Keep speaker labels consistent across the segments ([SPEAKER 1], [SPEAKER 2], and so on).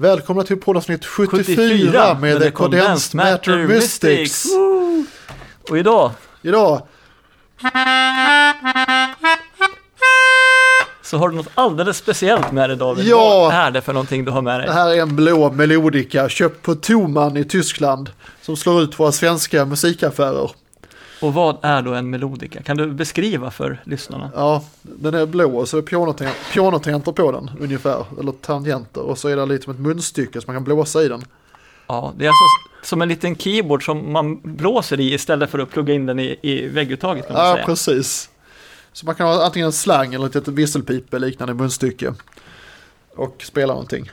[SPEAKER 1] Välkomna till poddavsnitt 74,
[SPEAKER 2] 74
[SPEAKER 1] med, The Condensed Matter Mystics.
[SPEAKER 2] Woo! Och idag
[SPEAKER 1] Idag,
[SPEAKER 2] så har du något alldeles speciellt med dig David.
[SPEAKER 1] Ja.
[SPEAKER 2] Vad är det för någonting du har med
[SPEAKER 1] det
[SPEAKER 2] dig?
[SPEAKER 1] här är en blå melodika köpt på Toman i Tyskland som slår ut våra svenska musikaffärer.
[SPEAKER 2] Och vad är då en melodika? Kan du beskriva för lyssnarna?
[SPEAKER 1] Ja, den är blå och så är det pianoten- pianotangenter på den ungefär, eller tangenter. Och så är det lite som ett munstycke så man kan blåsa i den.
[SPEAKER 2] Ja, det är alltså som en liten keyboard som man blåser i istället för att plugga in den i, i vägguttaget kan man
[SPEAKER 1] Ja,
[SPEAKER 2] säga.
[SPEAKER 1] precis. Så man kan ha antingen en slang eller ett litet visselpip eller liknande munstycke. Och spela någonting.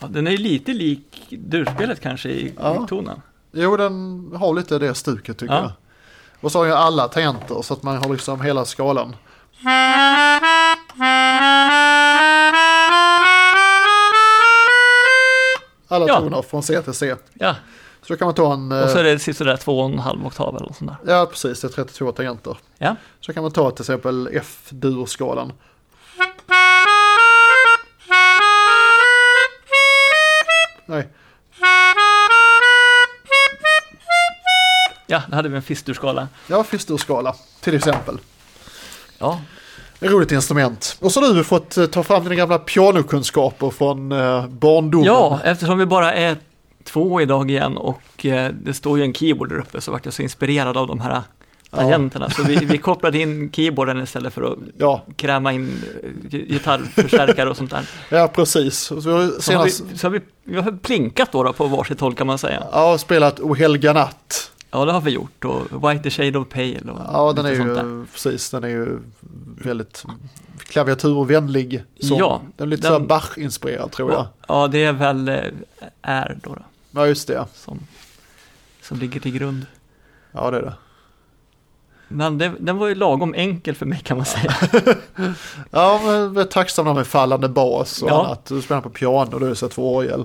[SPEAKER 2] Ja, den är ju lite lik durspelet kanske i,
[SPEAKER 1] Ja.
[SPEAKER 2] i tonen.
[SPEAKER 1] Jo, den har lite det stuket tycker
[SPEAKER 2] Ja.
[SPEAKER 1] jag. Och så har jag alla tangenter så att man har liksom hela skalan. Alla
[SPEAKER 2] Ja.
[SPEAKER 1] toner från C till C.
[SPEAKER 2] Ja,
[SPEAKER 1] Så då kan man ta en...
[SPEAKER 2] och så är
[SPEAKER 1] eh,
[SPEAKER 2] det sådär två och en halv oktav eller något sånt där.
[SPEAKER 1] Ja, precis. Det är 32 tangenter.
[SPEAKER 2] Ja.
[SPEAKER 1] Så kan man ta till exempel F-dur-skalan. Nej,
[SPEAKER 2] ja, då hade vi en fisturskala.
[SPEAKER 1] ja, F-dur-skala till exempel.
[SPEAKER 2] Ja,
[SPEAKER 1] Ett roligt instrument. Och så har du fått eh, ta fram dina gamla pianokunskaper från eh, barndomen.
[SPEAKER 2] Ja, eftersom vi bara är två idag igen och eh, det står ju en keyboard där uppe så vart jag så inspirerad av de här tangenterna. Så vi, vi kopplade in keyboarden istället för att
[SPEAKER 1] Ja,
[SPEAKER 2] kräma in eh, gi- gitarrförstärkare och sånt där.
[SPEAKER 1] ja precis. Och så har du
[SPEAKER 2] Så har vi,
[SPEAKER 1] senast...
[SPEAKER 2] så har vi, vi har plinkat då, då på varsitt håll kan man säga.
[SPEAKER 1] Ja, spelat O helga natt.
[SPEAKER 2] Ja, det har vi gjort och White the Shade of Pale och
[SPEAKER 1] Ja, den är
[SPEAKER 2] lite sånt där.
[SPEAKER 1] ju, precis, den är ju väldigt klaviaturvänlig. sång.
[SPEAKER 2] Ja,
[SPEAKER 1] den är lite
[SPEAKER 2] den-
[SPEAKER 1] så här Bach-inspirerad tror jag.
[SPEAKER 2] Ja, det är väl eh, är då, då
[SPEAKER 1] Ja, just det.
[SPEAKER 2] som, som ligger till grund.
[SPEAKER 1] Ja, det är det.
[SPEAKER 2] Men det, den var ju lagom enkel för mig kan man säga.
[SPEAKER 1] Ja, men jag är tacksam när med fallande bas och
[SPEAKER 2] Ja.
[SPEAKER 1] annat. Du spelar på piano, då är det så här två orgel.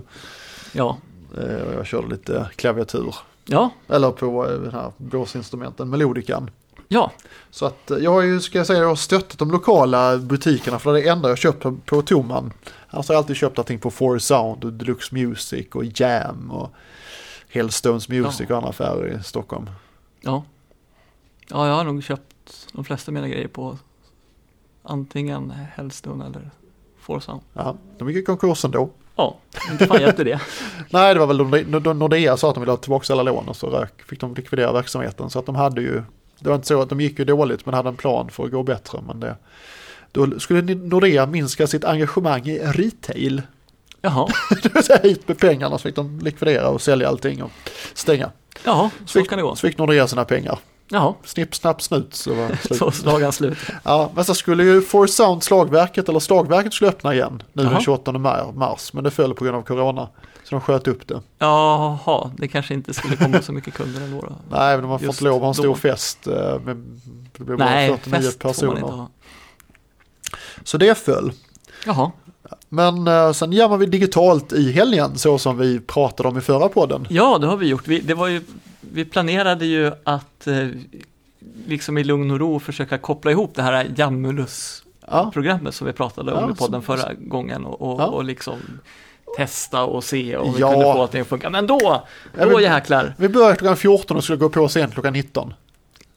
[SPEAKER 2] Ja,
[SPEAKER 1] Eh, och Jag körde lite klaviatur.
[SPEAKER 2] ja,
[SPEAKER 1] Eller på eh, den här blåsinstrumenten, melodikan.
[SPEAKER 2] ja.
[SPEAKER 1] Så att eh, jag har ju, ska jag säga, jag har stöttat de lokala butikerna för det är det enda jag köpt på- på Toman. Annars har jag alltid köpt allting på Four Sound och Deluxe Music och Jam och Hellstones Music och andra affärer i Stockholm.
[SPEAKER 2] Ja. Ja, jag har nog köpt de flesta av mina grejer på antingen Hellstone eller Forsan.
[SPEAKER 1] Ja, de gick i konkurs ändå.
[SPEAKER 2] Ja, inte fan hjälpte det.
[SPEAKER 1] Nej, det var väl de, de, Nordea sa att de ville ha tillbaka alla lån och så rök, fick de likvidera verksamheten. Så att de hade ju, det var inte så att de gick ju dåligt men hade en plan för att gå bättre. Men det, då skulle Nordea minska sitt engagemang i retail.
[SPEAKER 2] Jaha,
[SPEAKER 1] Det vill säga hit med pengarna så fick de likvidera och sälja allting och stänga.
[SPEAKER 2] jaha, så
[SPEAKER 1] fick,
[SPEAKER 2] kan det gå.
[SPEAKER 1] Så fick Nordea sina pengar.
[SPEAKER 2] Jaha,
[SPEAKER 1] Snipp, snapp, snut så var det slut.
[SPEAKER 2] så slagan slut.
[SPEAKER 1] Ja, men så skulle ju For Sound slagverket, eller slagverket skulle öppna igen nu
[SPEAKER 2] Jaha.
[SPEAKER 1] den 28 mar- mars. Men det föll på grund av corona. Så de sköt upp det.
[SPEAKER 2] Jaha, det kanske inte skulle komma så mycket kunder ändå då.
[SPEAKER 1] Nej, men man får
[SPEAKER 2] Just
[SPEAKER 1] inte lov att ha en stor
[SPEAKER 2] då.
[SPEAKER 1] fest. eh, Med, det blev bara
[SPEAKER 2] Nej,
[SPEAKER 1] 49
[SPEAKER 2] fest får man inte
[SPEAKER 1] personer.
[SPEAKER 2] ha.
[SPEAKER 1] Så det föll.
[SPEAKER 2] Jaha,
[SPEAKER 1] Men eh, sen jammar vi digitalt i helgen så som vi pratade om i förra podden.
[SPEAKER 2] ja det har vi gjort. Vi, det var ju, vi planerade ju att eh, liksom i lugn och ro försöka koppla ihop det här Jamulus
[SPEAKER 1] Ja,
[SPEAKER 2] programmet som vi pratade om
[SPEAKER 1] Ja,
[SPEAKER 2] i podden
[SPEAKER 1] så-
[SPEAKER 2] förra gången och, och,
[SPEAKER 1] Ja.
[SPEAKER 2] och liksom testa och se om vi
[SPEAKER 1] Ja.
[SPEAKER 2] kunde få allting att funka. Men då,
[SPEAKER 1] Ja,
[SPEAKER 2] då
[SPEAKER 1] men-
[SPEAKER 2] jäklar!
[SPEAKER 1] vi började klockan 14 och skulle gå på sen klockan 19.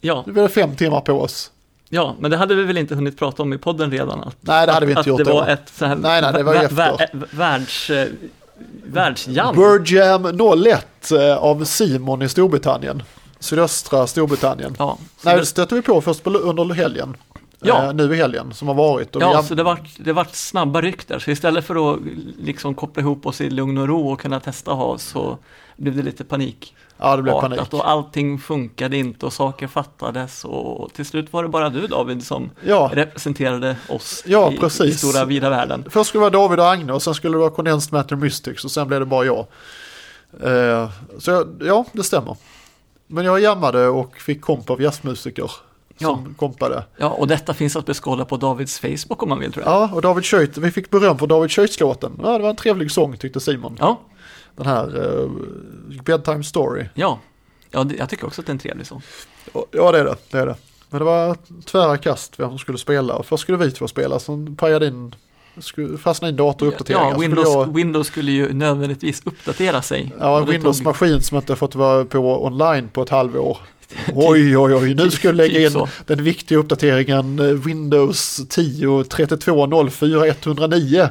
[SPEAKER 2] Ja,
[SPEAKER 1] Nu blir det fem timmar på oss.
[SPEAKER 2] ja, men det hade vi väl inte hunnit prata om i podden redan? Att,
[SPEAKER 1] Nej, det hade vi
[SPEAKER 2] att
[SPEAKER 1] inte gjort
[SPEAKER 2] det
[SPEAKER 1] då.
[SPEAKER 2] var ett så här
[SPEAKER 1] Nej, nej, det var ju efter.
[SPEAKER 2] vä- världs, eh, världsjam.
[SPEAKER 1] Bird Jam 01 eh, av Simon i Storbritannien. Sydöstra Storbritannien.
[SPEAKER 2] Ja, så
[SPEAKER 1] Nej,
[SPEAKER 2] det,
[SPEAKER 1] det stötte vi på först på, under helgen.
[SPEAKER 2] Ja.
[SPEAKER 1] Eh, nu i helgen som har varit. Och vi
[SPEAKER 2] ja
[SPEAKER 1] jam-
[SPEAKER 2] så det vart, det vart snabba ryck där. Så istället för att liksom koppla ihop oss i lugn och ro och kunna testa och ha så blev det lite panik.
[SPEAKER 1] ja, det blev panik.
[SPEAKER 2] artat och allting funkade inte och saker fattades och till slut var det bara du David som
[SPEAKER 1] Ja.
[SPEAKER 2] representerade oss
[SPEAKER 1] Ja,
[SPEAKER 2] i, i
[SPEAKER 1] precis.
[SPEAKER 2] stora vida världen.
[SPEAKER 1] Först skulle det vara David och Agne och sen skulle det vara Condensed Matter Mystics och sen blev det bara jag. Eh, så jag, ja, det stämmer. Men jag jammade och fick komp av jazzmusiker som kompade.
[SPEAKER 2] Ja, och detta finns att beskåda på Davids Facebook om man vill tror jag.
[SPEAKER 1] Ja, och David Schöit, vi fick beröm för David Schöits låten. Ja, det var en trevlig sång tyckte Simon.
[SPEAKER 2] Ja,
[SPEAKER 1] Den här eh, Bedtime Story.
[SPEAKER 2] ja. ja det, jag tycker också att det är en trevlig sång.
[SPEAKER 1] Ja, det är det. det, är det. Men det var tvära kast vem som skulle spela. Först skulle vi två spela, sen pajade in, sku- fastnade in datoruppdateringar.
[SPEAKER 2] Ja,
[SPEAKER 1] Så skulle
[SPEAKER 2] Windows,
[SPEAKER 1] jag-
[SPEAKER 2] Windows skulle ju nödvändigtvis uppdatera sig.
[SPEAKER 1] Ja,
[SPEAKER 2] Och
[SPEAKER 1] en
[SPEAKER 2] det tog-
[SPEAKER 1] Windows-maskin som inte fått vara på online på ett halvår. Oj, oj, oj, nu ska jag lägga
[SPEAKER 2] Typ
[SPEAKER 1] in
[SPEAKER 2] så.
[SPEAKER 1] den viktiga uppdateringen eh, Windows 10 3204 109.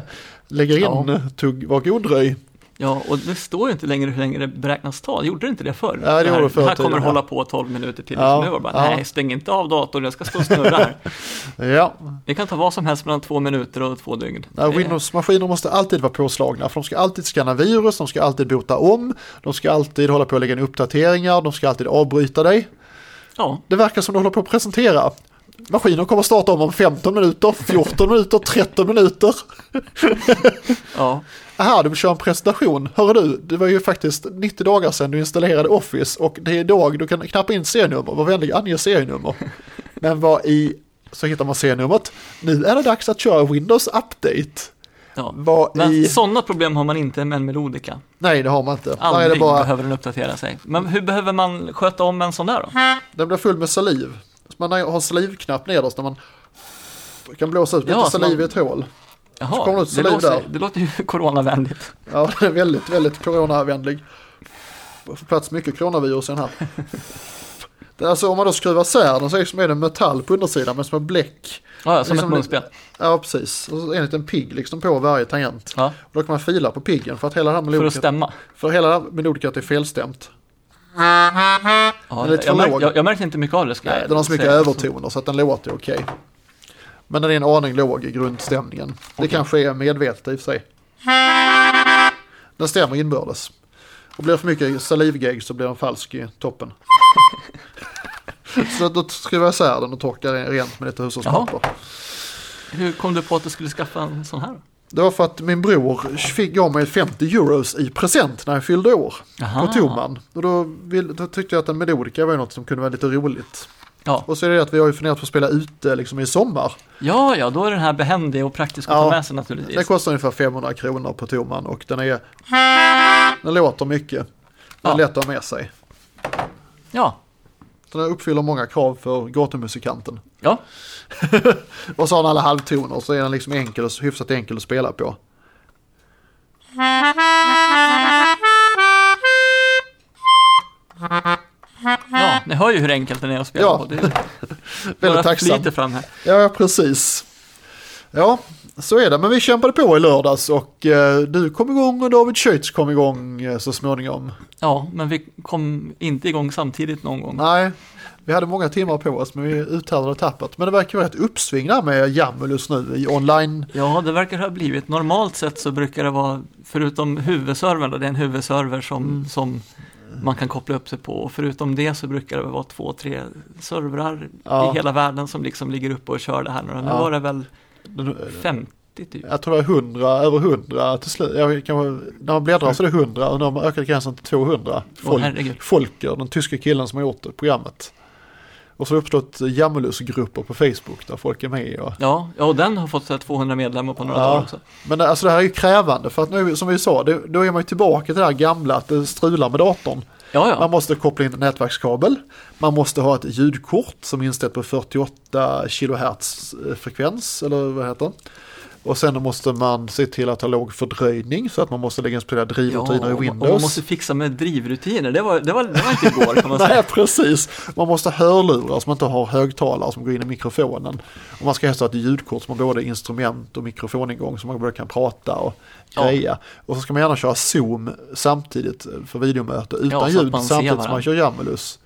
[SPEAKER 1] Lägger
[SPEAKER 2] Ja.
[SPEAKER 1] in, eh, tugg, var god dröj.
[SPEAKER 2] Ja, och det står ju inte längre hur länge det beräknas ta. Gjorde det inte det förr?
[SPEAKER 1] Ja, det gjorde
[SPEAKER 2] här,
[SPEAKER 1] det förr
[SPEAKER 2] här kommer
[SPEAKER 1] tiden, ja.
[SPEAKER 2] hålla på 12 minuter till.
[SPEAKER 1] Ja,
[SPEAKER 2] Ja, nu var det bara,
[SPEAKER 1] ja.
[SPEAKER 2] nej, stäng inte av datorn, jag ska stå och snurra här.
[SPEAKER 1] Ja,
[SPEAKER 2] Det kan ta vad som helst mellan två minuter och två dygn.
[SPEAKER 1] Ja,
[SPEAKER 2] Det-
[SPEAKER 1] Windows-maskiner måste alltid vara påslagna, för de ska alltid skanna virus, de ska alltid bota om, de ska alltid hålla på att lägga in uppdateringar, de ska alltid avbryta dig.
[SPEAKER 2] Ja,
[SPEAKER 1] Det verkar som de håller på att presentera. Maskinen kommer starta om om 15 minuter, 14 minuter, 13 minuter.
[SPEAKER 2] ja.
[SPEAKER 1] Aha, de kör en presentation. Hör du, det var ju faktiskt 90 dagar sedan du installerade Office och det är idag du kan knappa in serienummer. Var vänlig, ange serienummer. Men vad i... Så hittar man serienumret. Nu är det dags att köra Windows Update.
[SPEAKER 2] ja.
[SPEAKER 1] Vad
[SPEAKER 2] Men
[SPEAKER 1] i...
[SPEAKER 2] sådana problem har man inte med en melodika.
[SPEAKER 1] Nej, det har man inte. Där är det
[SPEAKER 2] Aldrig
[SPEAKER 1] bara...
[SPEAKER 2] behöver den uppdatera sig. Men hur behöver man sköta om en sån där då?
[SPEAKER 1] Den blir full med saliv. Så man har salivknapp nederst när man kan blåsa ut lite
[SPEAKER 2] Ja, så
[SPEAKER 1] saliv
[SPEAKER 2] man-
[SPEAKER 1] i ett hål. Så kommer det
[SPEAKER 2] Jaha,
[SPEAKER 1] ut
[SPEAKER 2] det
[SPEAKER 1] saliv
[SPEAKER 2] låter,
[SPEAKER 1] där.
[SPEAKER 2] det låter ju coronavänligt.
[SPEAKER 1] Ja, den är väldigt, väldigt coronavänlig. Det får plats mycket coronavirus i den här. Det är alltså om man då skruvar isär den så är det som är det metall på undersidan men som är bläck.
[SPEAKER 2] Ja, ja, som
[SPEAKER 1] Liksom
[SPEAKER 2] ett munspel.
[SPEAKER 1] Ja, precis. Och så är det en liten pigg liksom på varje tangent.
[SPEAKER 2] Ja,
[SPEAKER 1] Och då kan man fila på piggen för att hela den här
[SPEAKER 2] för att
[SPEAKER 1] melodikat,
[SPEAKER 2] stämma.
[SPEAKER 1] för hela den här melodikat är felstämt.
[SPEAKER 2] Ja,
[SPEAKER 1] Den är lite
[SPEAKER 2] jag,
[SPEAKER 1] för
[SPEAKER 2] märk,
[SPEAKER 1] låg.
[SPEAKER 2] jag, jag märkte inte mycket av det. Ska
[SPEAKER 1] Nej,
[SPEAKER 2] jag
[SPEAKER 1] den har så mycket
[SPEAKER 2] säga.
[SPEAKER 1] övertoner så att den låter okej. Men den är en aning låg i grundstämningen. Det kanske är medvetet i och för sig. Den stämmer inbördes. Och blir det för mycket salivgeg så blir den falsk i toppen. så då skruvar jag isär den och torkar den rent med lite hushållspapper.
[SPEAKER 2] Hur kom du på att du skulle skaffa en sån här? då?
[SPEAKER 1] Det var för att min bror fick, gav mig 50 euros i present när jag fyllde år.
[SPEAKER 2] Aha.
[SPEAKER 1] På Toman. Och då, vill, då tyckte jag att en melodika var ju något som kunde vara lite roligt.
[SPEAKER 2] Ja.
[SPEAKER 1] Och så är det att vi har ju funderat på att spela ute liksom i sommar.
[SPEAKER 2] ja, ja, då är den här behändig och praktisk att
[SPEAKER 1] Ja.
[SPEAKER 2] ta med sig
[SPEAKER 1] Den
[SPEAKER 2] naturligtvis.
[SPEAKER 1] kostar ungefär 500 kronor på Toman och den är... Den låter mycket. Den
[SPEAKER 2] Ja.
[SPEAKER 1] är lätt att ha med sig.
[SPEAKER 2] Ja,
[SPEAKER 1] Så Den uppfyller många krav för gatumusikanten.
[SPEAKER 2] ja,
[SPEAKER 1] Och så har den alla halvtoner så är den liksom enkel, hyfsat enkel att spela på.
[SPEAKER 2] ja, ni hör ju hur enkelt den är att spela
[SPEAKER 1] Ja,
[SPEAKER 2] på. Det är
[SPEAKER 1] Väldigt
[SPEAKER 2] bara
[SPEAKER 1] tacksam.
[SPEAKER 2] flyter fram här.
[SPEAKER 1] Ja, precis. Ja, så är det. Men vi kämpade på i lördags och eh, du kom igång och David Schütz kom igång eh, så småningom.
[SPEAKER 2] Ja, men vi kom inte igång samtidigt någon gång.
[SPEAKER 1] Nej, vi hade många timmar på oss men vi uthärdade och tappat. Men det verkar vara ett uppsving där med Jamulus nu i online.
[SPEAKER 2] Ja, det verkar ha blivit. Normalt sett så brukar det vara, förutom huvudservern, då, det är en huvudserver som,
[SPEAKER 1] Mm.
[SPEAKER 2] som man kan koppla upp sig på. Och förutom det så brukar det vara två, tre servrar
[SPEAKER 1] Ja.
[SPEAKER 2] i hela världen som liksom ligger uppe och kör det här. Nu Nu
[SPEAKER 1] Ja.
[SPEAKER 2] var det väl
[SPEAKER 1] Den-
[SPEAKER 2] 50 typ.
[SPEAKER 1] Jag tror det var 100, över 100 till slut. Jag kanske, när man bläddrar så är det 100 och nu har man ökat gränsen till 200.
[SPEAKER 2] Åh, herregud.
[SPEAKER 1] Folker, den tyska killen som har gjort det, programmet. Och så har det uppstått Jamulus-grupper på Facebook där folk är med. Och,
[SPEAKER 2] Ja, ja, och den har fått så här 200 medlemmar på några
[SPEAKER 1] Ja.
[SPEAKER 2] dagar också.
[SPEAKER 1] men det, alltså det här är ju krävande för att nu som vi sa, det, då är man ju tillbaka till det här gamla att det strular med datorn.
[SPEAKER 2] Ja,
[SPEAKER 1] Man
[SPEAKER 2] ja.
[SPEAKER 1] måste koppla in en nätverkskabel. Man måste ha ett ljudkort som är inställt på 48 kHz frekvens eller vad heter det? Och sen måste man se till att ha låg fördröjning så att man måste lägga in speciella
[SPEAKER 2] Ja,
[SPEAKER 1] drivrutiner i
[SPEAKER 2] och, och
[SPEAKER 1] Windows.
[SPEAKER 2] man måste fixa med drivrutiner. Det var, det var, det var inte igår kan man säga.
[SPEAKER 1] Nej, precis. Man måste ha hörlurar så man inte har högtalare som går in i mikrofonen. Och man ska helst ha ett ljudkort som har både instrument och mikrofoningång så man både kan prata och
[SPEAKER 2] Ja.
[SPEAKER 1] greja. Och så ska man gärna köra Zoom samtidigt för videomöte utan
[SPEAKER 2] så att
[SPEAKER 1] ljud
[SPEAKER 2] man ser
[SPEAKER 1] samtidigt som
[SPEAKER 2] varandra.
[SPEAKER 1] man kör Jamulus.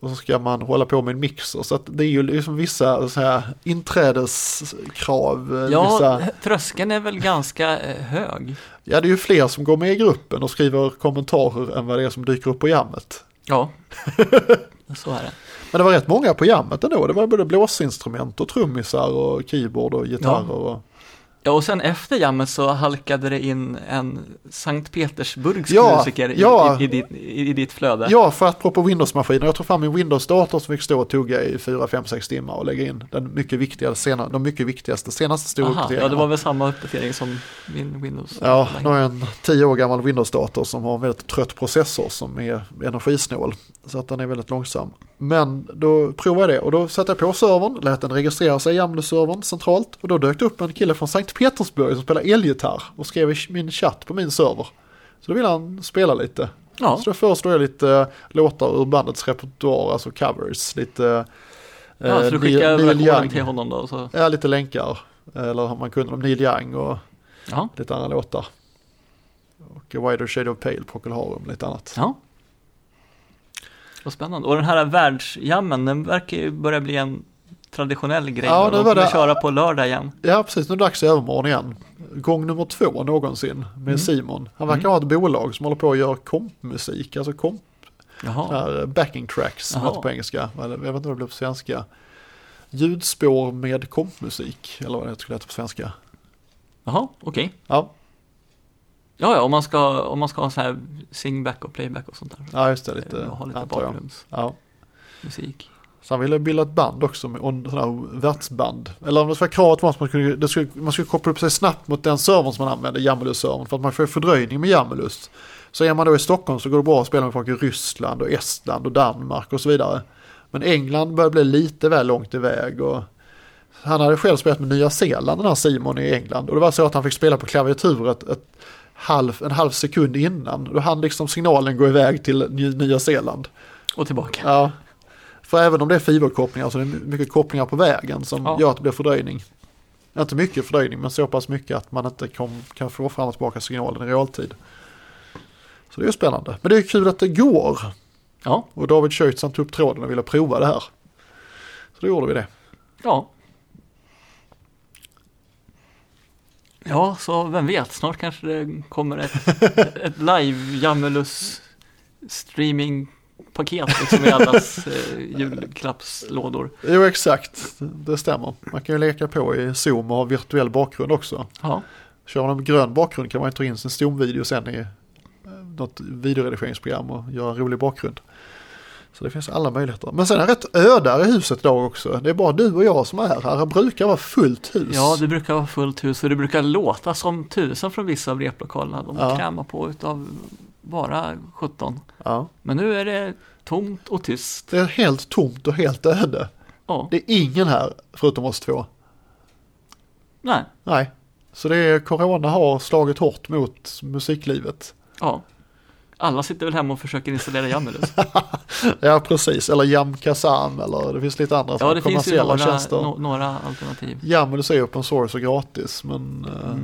[SPEAKER 1] Och så ska man hålla på med en mixer. Så att det är ju liksom vissa så här, inträdeskrav. eh,
[SPEAKER 2] Ja,
[SPEAKER 1] Vissa,
[SPEAKER 2] tröskeln är väl ganska eh, hög.
[SPEAKER 1] ja, det är ju fler som går med i gruppen och skriver kommentarer än vad det är som dyker upp på jammet.
[SPEAKER 2] Ja, så är det.
[SPEAKER 1] Men det var rätt många på jammet ändå. Det var både blåsinstrument och trummisar och keyboard och gitarrer. Och...
[SPEAKER 2] Ja, och sen efter jammet så halkade det in en Sankt Petersburgs
[SPEAKER 1] Ja,
[SPEAKER 2] musiker i-
[SPEAKER 1] ja.
[SPEAKER 2] i, i, ditt- i, i ditt flöde.
[SPEAKER 1] Ja, för att apropå Windows-maskiner, jag tog fram min Windows-dator som fick stå och tugga i 4, 5, 6 timmar och lägga in den mycket viktiga, sena, de mycket viktigaste senaste stora
[SPEAKER 2] Aha, ja, det
[SPEAKER 1] uppdateringarna.
[SPEAKER 2] var väl samma uppdatering som min Windows.
[SPEAKER 1] Ja, nu har jag en 10 år gammal Windows-dator som har en väldigt trött processor som är energisnål. Så att den är väldigt långsam. Men då provade jag det och då satte jag på servern, lät den registrera sig i Jamlu-servern centralt. Och då dök det upp en kille från Sankt Petersburg som spelar elgitarr och skrev i min chatt på min server. Så då ville han spela lite.
[SPEAKER 2] Ja.
[SPEAKER 1] Så då föreslår jag lite eh, låtar ur bandets repertoar, alltså covers. Lite
[SPEAKER 2] Ja, så du
[SPEAKER 1] eh,
[SPEAKER 2] skickar
[SPEAKER 1] Neil-
[SPEAKER 2] över
[SPEAKER 1] Neil
[SPEAKER 2] koden till
[SPEAKER 1] Young.
[SPEAKER 2] honom då? Så.
[SPEAKER 1] Ja, lite länkar. eh, Eller om man kunde dem, Neil Young och
[SPEAKER 2] Ja,
[SPEAKER 1] lite andra låtar. Och A Wider Shade of Pale, Procol Harum, lite annat.
[SPEAKER 2] ja. Vad spännande. Och den här världsjammen, den verkar ju börja bli en traditionell grej.
[SPEAKER 1] Ja,
[SPEAKER 2] då.
[SPEAKER 1] det
[SPEAKER 2] De
[SPEAKER 1] var
[SPEAKER 2] kommer
[SPEAKER 1] det.
[SPEAKER 2] köra på lördag igen.
[SPEAKER 1] Ja, precis. Nu är det dags i övermorgon igen. Gång nummer två någonsin med Simon. Han verkar ha ett bolag som håller på att göra kompmusik, alltså komp,
[SPEAKER 2] Jaha.
[SPEAKER 1] ja. backing tracks som
[SPEAKER 2] Jaha.
[SPEAKER 1] heter på engelska. Eller, jag vet inte vad det blev på svenska. Ljudspår med kompmusik, eller vad det skulle heta på svenska.
[SPEAKER 2] Jaha, okej.
[SPEAKER 1] Ja,
[SPEAKER 2] Ja, ja, om man ska, om man ska ha så här singback och playback och sånt där.
[SPEAKER 1] ja just det, lite,
[SPEAKER 2] ha lite
[SPEAKER 1] eh, antar jag.
[SPEAKER 2] bakgrundsmusik.
[SPEAKER 1] Ja. Så han ville bilda ett band också, med, och en sån här världsband. Eller om det var kravet var att man, kunde, det skulle, man skulle koppla upp sig snabbt mot den servern som man använder, Jammelus-servern, för att man får fördröjning med Jammelus. Så är man då i Stockholm så går det bra att spela med folk i Ryssland och Estland och Danmark och så vidare. Men England börjar bli lite väl långt iväg och han hade själv spelat med Nya Zeeland, den här Simon i England. Och det var så att han fick spela på klaviaturet ett halv, en halv sekund innan. Då hann liksom signalen gå iväg till Ny- Nya Zeeland.
[SPEAKER 2] Och tillbaka.
[SPEAKER 1] Ja. För även om det är fiberkopplingar så är det mycket kopplingar på vägen som
[SPEAKER 2] Ja.
[SPEAKER 1] gör att det blir fördröjning. Inte mycket fördröjning men så pass mycket att man inte kom, kan få fram och tillbaka signalen i realtid. Så det är ju spännande. Men det är kul att det går.
[SPEAKER 2] Ja,
[SPEAKER 1] Och David Schütz han tog upp tråden och ville prova det här. Så då gjorde vi det.
[SPEAKER 2] ja. Ja, så vem vet, snart kanske det kommer ett, ett live Jammelus streamingpaket liksom i allas eh, julklappslådor.
[SPEAKER 1] Jo exakt, det stämmer. Man kan ju leka på i Zoom och ha virtuell bakgrund också.
[SPEAKER 2] Ja,
[SPEAKER 1] Kör man en grön bakgrund kan man ju ta in sin Zoom-video sen i eh, något videoredigeringsprogram och göra en rolig bakgrund. Så det finns alla möjligheter. Men sen är det rätt ödare i huset idag också. Det är bara du och jag som är här. Det brukar vara fullt hus.
[SPEAKER 2] ja det brukar vara fullt hus och det brukar låta som tusen från vissa av replokalerna. De
[SPEAKER 1] Ja.
[SPEAKER 2] krämar på utav bara 17.
[SPEAKER 1] Ja.
[SPEAKER 2] Men nu är det tomt och tyst.
[SPEAKER 1] Det är helt tomt och helt öde.
[SPEAKER 2] Ja,
[SPEAKER 1] Det är ingen här förutom oss två.
[SPEAKER 2] nej,
[SPEAKER 1] Nej. Så det är, corona har slagit hårt mot musiklivet.
[SPEAKER 2] ja. Alla sitter väl hemma och försöker installera Jammelus.
[SPEAKER 1] Ja precis, eller Jam Kazam eller det finns lite andra
[SPEAKER 2] Ja,
[SPEAKER 1] sådana
[SPEAKER 2] det finns ju
[SPEAKER 1] kommersiella
[SPEAKER 2] några,
[SPEAKER 1] tjänster.
[SPEAKER 2] no, några alternativ.
[SPEAKER 1] Jammelus är open source och gratis men eh,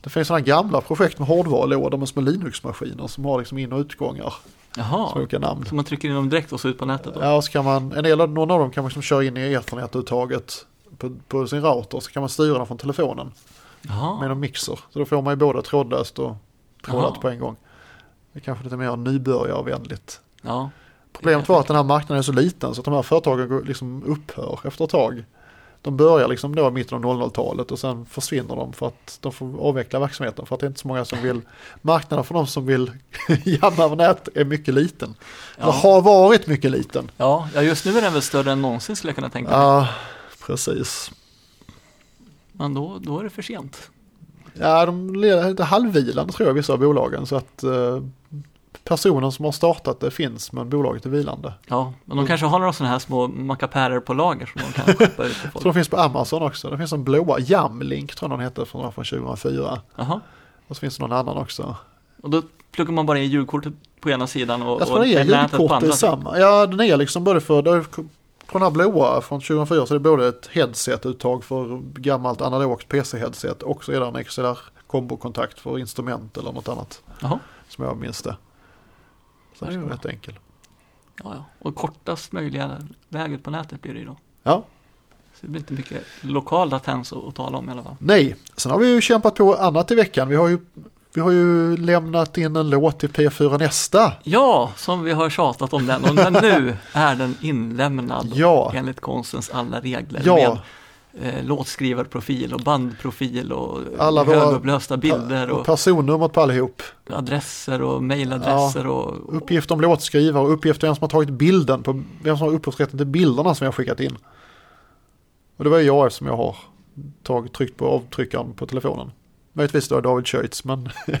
[SPEAKER 1] det finns sådana gamla projekt med hårdvarulådor med små Linux-maskiner som har liksom in och utgångar med
[SPEAKER 2] Jaha,
[SPEAKER 1] olika namn.
[SPEAKER 2] så man trycker in dem direkt och så ut på nätet då?
[SPEAKER 1] Ja, och så kan man, en del av, någon av dem kan man liksom köra in i ethernet-uttaget på, på sin router så kan man styra den från telefonen
[SPEAKER 2] Jaha,
[SPEAKER 1] med en mixer. Så då får man ju både trådlöst och trådat
[SPEAKER 2] Jaha.
[SPEAKER 1] på en gång. Det är kanske lite mer nybörjarvänligt.
[SPEAKER 2] ja.
[SPEAKER 1] Problemet var att den här marknaden är så liten så att de här företagen går- liksom upphör efter ett tag. De börjar liksom då i mitten av 00-talet och sen försvinner de för att de får avveckla verksamheten för att det är inte så många som vill. Marknaden för de som vill jamma över nät är mycket liten.
[SPEAKER 2] Ja.
[SPEAKER 1] Eller har varit mycket liten.
[SPEAKER 2] Ja, ja, just nu är den väl större än någonsin skulle jag kunna tänka mig.
[SPEAKER 1] Ja, precis.
[SPEAKER 2] Men då, då är det för sent.
[SPEAKER 1] Ja, de leder lite halvvilande tror jag vissa av bolagen så att eh, personen som har startat det finns men bolaget är vilande.
[SPEAKER 2] Ja, men de kanske har några sådana här små mackapärer på lager som de kan skeppa ut till
[SPEAKER 1] Så de
[SPEAKER 2] folk.
[SPEAKER 1] finns på Amazon också. Det finns en blåa, Jamlink tror jag den hette från från 2004.
[SPEAKER 2] Jaha,
[SPEAKER 1] Och så finns det någon annan också.
[SPEAKER 2] och då pluggar man bara in ljudkortet på ena sidan och,
[SPEAKER 1] Jag tror
[SPEAKER 2] och
[SPEAKER 1] det är
[SPEAKER 2] nätet på
[SPEAKER 1] ljudkort
[SPEAKER 2] andra.
[SPEAKER 1] i samma. Ja, den är liksom både för, det är, på den här blåa från 2004 så är det både ett headset-uttag för gammalt analogt PC-headset och så är det en XLR kombokontakt för instrument eller något annat
[SPEAKER 2] Jaha,
[SPEAKER 1] som jag minns det. Så
[SPEAKER 2] Ja,
[SPEAKER 1] det
[SPEAKER 2] det
[SPEAKER 1] är
[SPEAKER 2] är bra.
[SPEAKER 1] rätt enkel.
[SPEAKER 2] ja, ja. Och kortast möjliga väget på nätet blir det ju då.
[SPEAKER 1] Ja,
[SPEAKER 2] Så det blir inte mycket lokal latens att, att tala om i alla fall.
[SPEAKER 1] nej, sen har vi ju kämpat på annat i veckan. Vi har ju, vi har ju lämnat in en låt till P4 Nästa.
[SPEAKER 2] Ja, som vi har tjatat om den. Och men nu är den inlämnad
[SPEAKER 1] Ja.
[SPEAKER 2] enligt konstens alla regler.
[SPEAKER 1] Ja.
[SPEAKER 2] Alltså, Med eh, låtskrivarprofil och bandprofil och
[SPEAKER 1] Alla våra-
[SPEAKER 2] högupplösta bilder
[SPEAKER 1] och
[SPEAKER 2] och
[SPEAKER 1] personnumret på allihop.
[SPEAKER 2] adresser och mejladresser och, och
[SPEAKER 1] Uppgift om låtskrivare och uppgift om vem som har tagit bilden på vem som har upphovsrätten till bilderna som jag har skickat in. Och det var ju jag eftersom jag har tagit, tryckt på avtryckaren på telefonen. Möjligtvis det var David Schütz men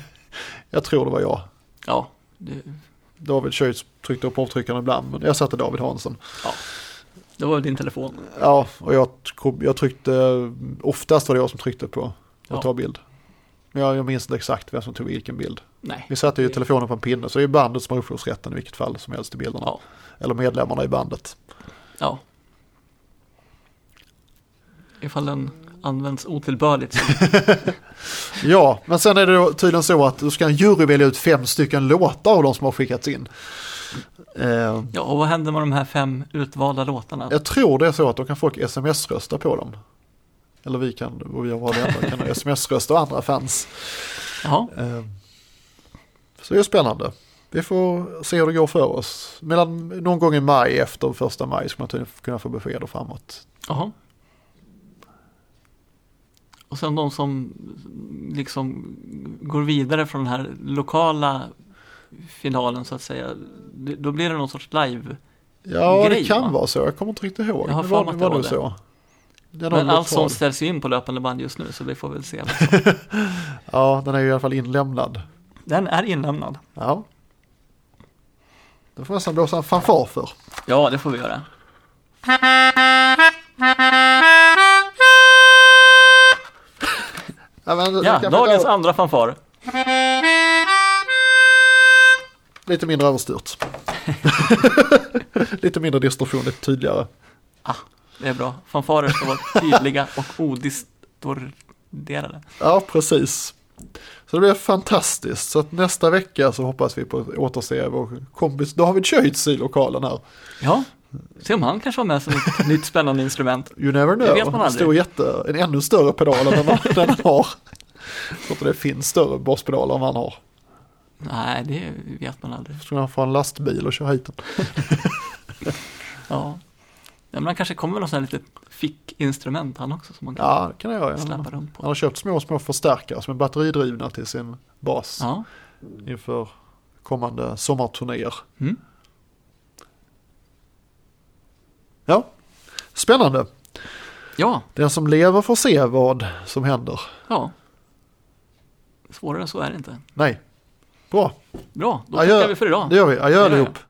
[SPEAKER 1] jag tror det var jag.
[SPEAKER 2] ja, det,
[SPEAKER 1] David Schütz tryckte upp avtryckaren ibland men jag satte David Hansson.
[SPEAKER 2] det var din telefon.
[SPEAKER 1] Ja, och jag, jag tryckte, oftast var det jag som tryckte på att
[SPEAKER 2] Ja.
[SPEAKER 1] ta bild. Men jag, jag minns inte exakt vem som tog vilken bild.
[SPEAKER 2] Nej,
[SPEAKER 1] Vi satte ju telefonen på en pinne så det är ju bandet som har upphovsrätten i vilket fall som helst till bilderna.
[SPEAKER 2] Ja.
[SPEAKER 1] Eller medlemmarna i bandet.
[SPEAKER 2] ja. Ifall den används otillbörligt. så-
[SPEAKER 1] Ja, men sen är det då tydligen så att då ska en jury välja ut fem stycken låtar av de som har skickats in. Eh,
[SPEAKER 2] Ja, och vad händer med de här fem utvalda låtarna?
[SPEAKER 1] jag tror det är så att då kan folk sms-rösta på dem. Eller vi kan, och jag var det enda, kan sms-rösta och andra fans.
[SPEAKER 2] Jaha,
[SPEAKER 1] Eh, så det är spännande. Vi får se hur det går för oss. Mellan, någon gång i maj efter första maj ska man tydligen kunna få besked och framåt.
[SPEAKER 2] jaha. Och sen de som liksom går vidare från den här lokala finalen så att säga. det- Då blir det någon sorts live.
[SPEAKER 1] Ja,
[SPEAKER 2] Grej,
[SPEAKER 1] det kan
[SPEAKER 2] va?
[SPEAKER 1] vara så. Jag kommer inte riktigt ihåg.
[SPEAKER 2] Jag har
[SPEAKER 1] det
[SPEAKER 2] för
[SPEAKER 1] var,
[SPEAKER 2] mig att
[SPEAKER 1] var
[SPEAKER 2] det
[SPEAKER 1] nog
[SPEAKER 2] var
[SPEAKER 1] så. Den har
[SPEAKER 2] Men
[SPEAKER 1] blivit
[SPEAKER 2] allt
[SPEAKER 1] vald.
[SPEAKER 2] sånt ställs ju in på löpande band just nu så vi får väl se.
[SPEAKER 1] Ja, den är ju i alla fall inlämnad.
[SPEAKER 2] Den är inlämnad.
[SPEAKER 1] Ja. Det får jag nästan blåsa en fanfar för.
[SPEAKER 2] Ja, det får vi göra.
[SPEAKER 1] Ja, men, det
[SPEAKER 2] Ja,
[SPEAKER 1] kanske
[SPEAKER 2] dagens
[SPEAKER 1] inte-
[SPEAKER 2] andra fanfar.
[SPEAKER 1] Lite mindre överstyrt. lite mindre distorsion, lite tydligare.
[SPEAKER 2] Det är bra. Fanfarer ska vara tydliga och odistorderade.
[SPEAKER 1] Ja, precis. Så det blir fantastiskt. Så att nästa vecka så hoppas vi på att återse vår kompis David Schütz i lokalen här.
[SPEAKER 2] Ja, se om han kanske har med sig ett nytt spännande instrument.
[SPEAKER 1] You never know.
[SPEAKER 2] Det vet man
[SPEAKER 1] En Stor
[SPEAKER 2] aldrig.
[SPEAKER 1] jätte, en ännu större pedal än den han, den han har. Så att det finns större baspedaler än vad han har.
[SPEAKER 2] Nej, det vet man aldrig.
[SPEAKER 1] Skulle han få en lastbil och köra hit den?
[SPEAKER 2] Ja. Ja, men han kanske kommer med något sånt här litet fickinstrument han också som man kan
[SPEAKER 1] Ja, det kan jag göra.
[SPEAKER 2] släppa
[SPEAKER 1] Han,
[SPEAKER 2] runt
[SPEAKER 1] han
[SPEAKER 2] på.
[SPEAKER 1] har köpt små, små förstärkare som är batteridrivna till sin bas
[SPEAKER 2] Ja,
[SPEAKER 1] inför kommande sommarturnéer.
[SPEAKER 2] Mm.
[SPEAKER 1] Ja, spännande.
[SPEAKER 2] ja,
[SPEAKER 1] Den som lever får se vad som händer.
[SPEAKER 2] ja. Svårare än så är det inte.
[SPEAKER 1] Nej, bra.
[SPEAKER 2] Bra, då
[SPEAKER 1] Adjö.
[SPEAKER 2] tackar vi för idag.
[SPEAKER 1] Det gör vi. Adjö
[SPEAKER 2] Adjö.
[SPEAKER 1] allihop.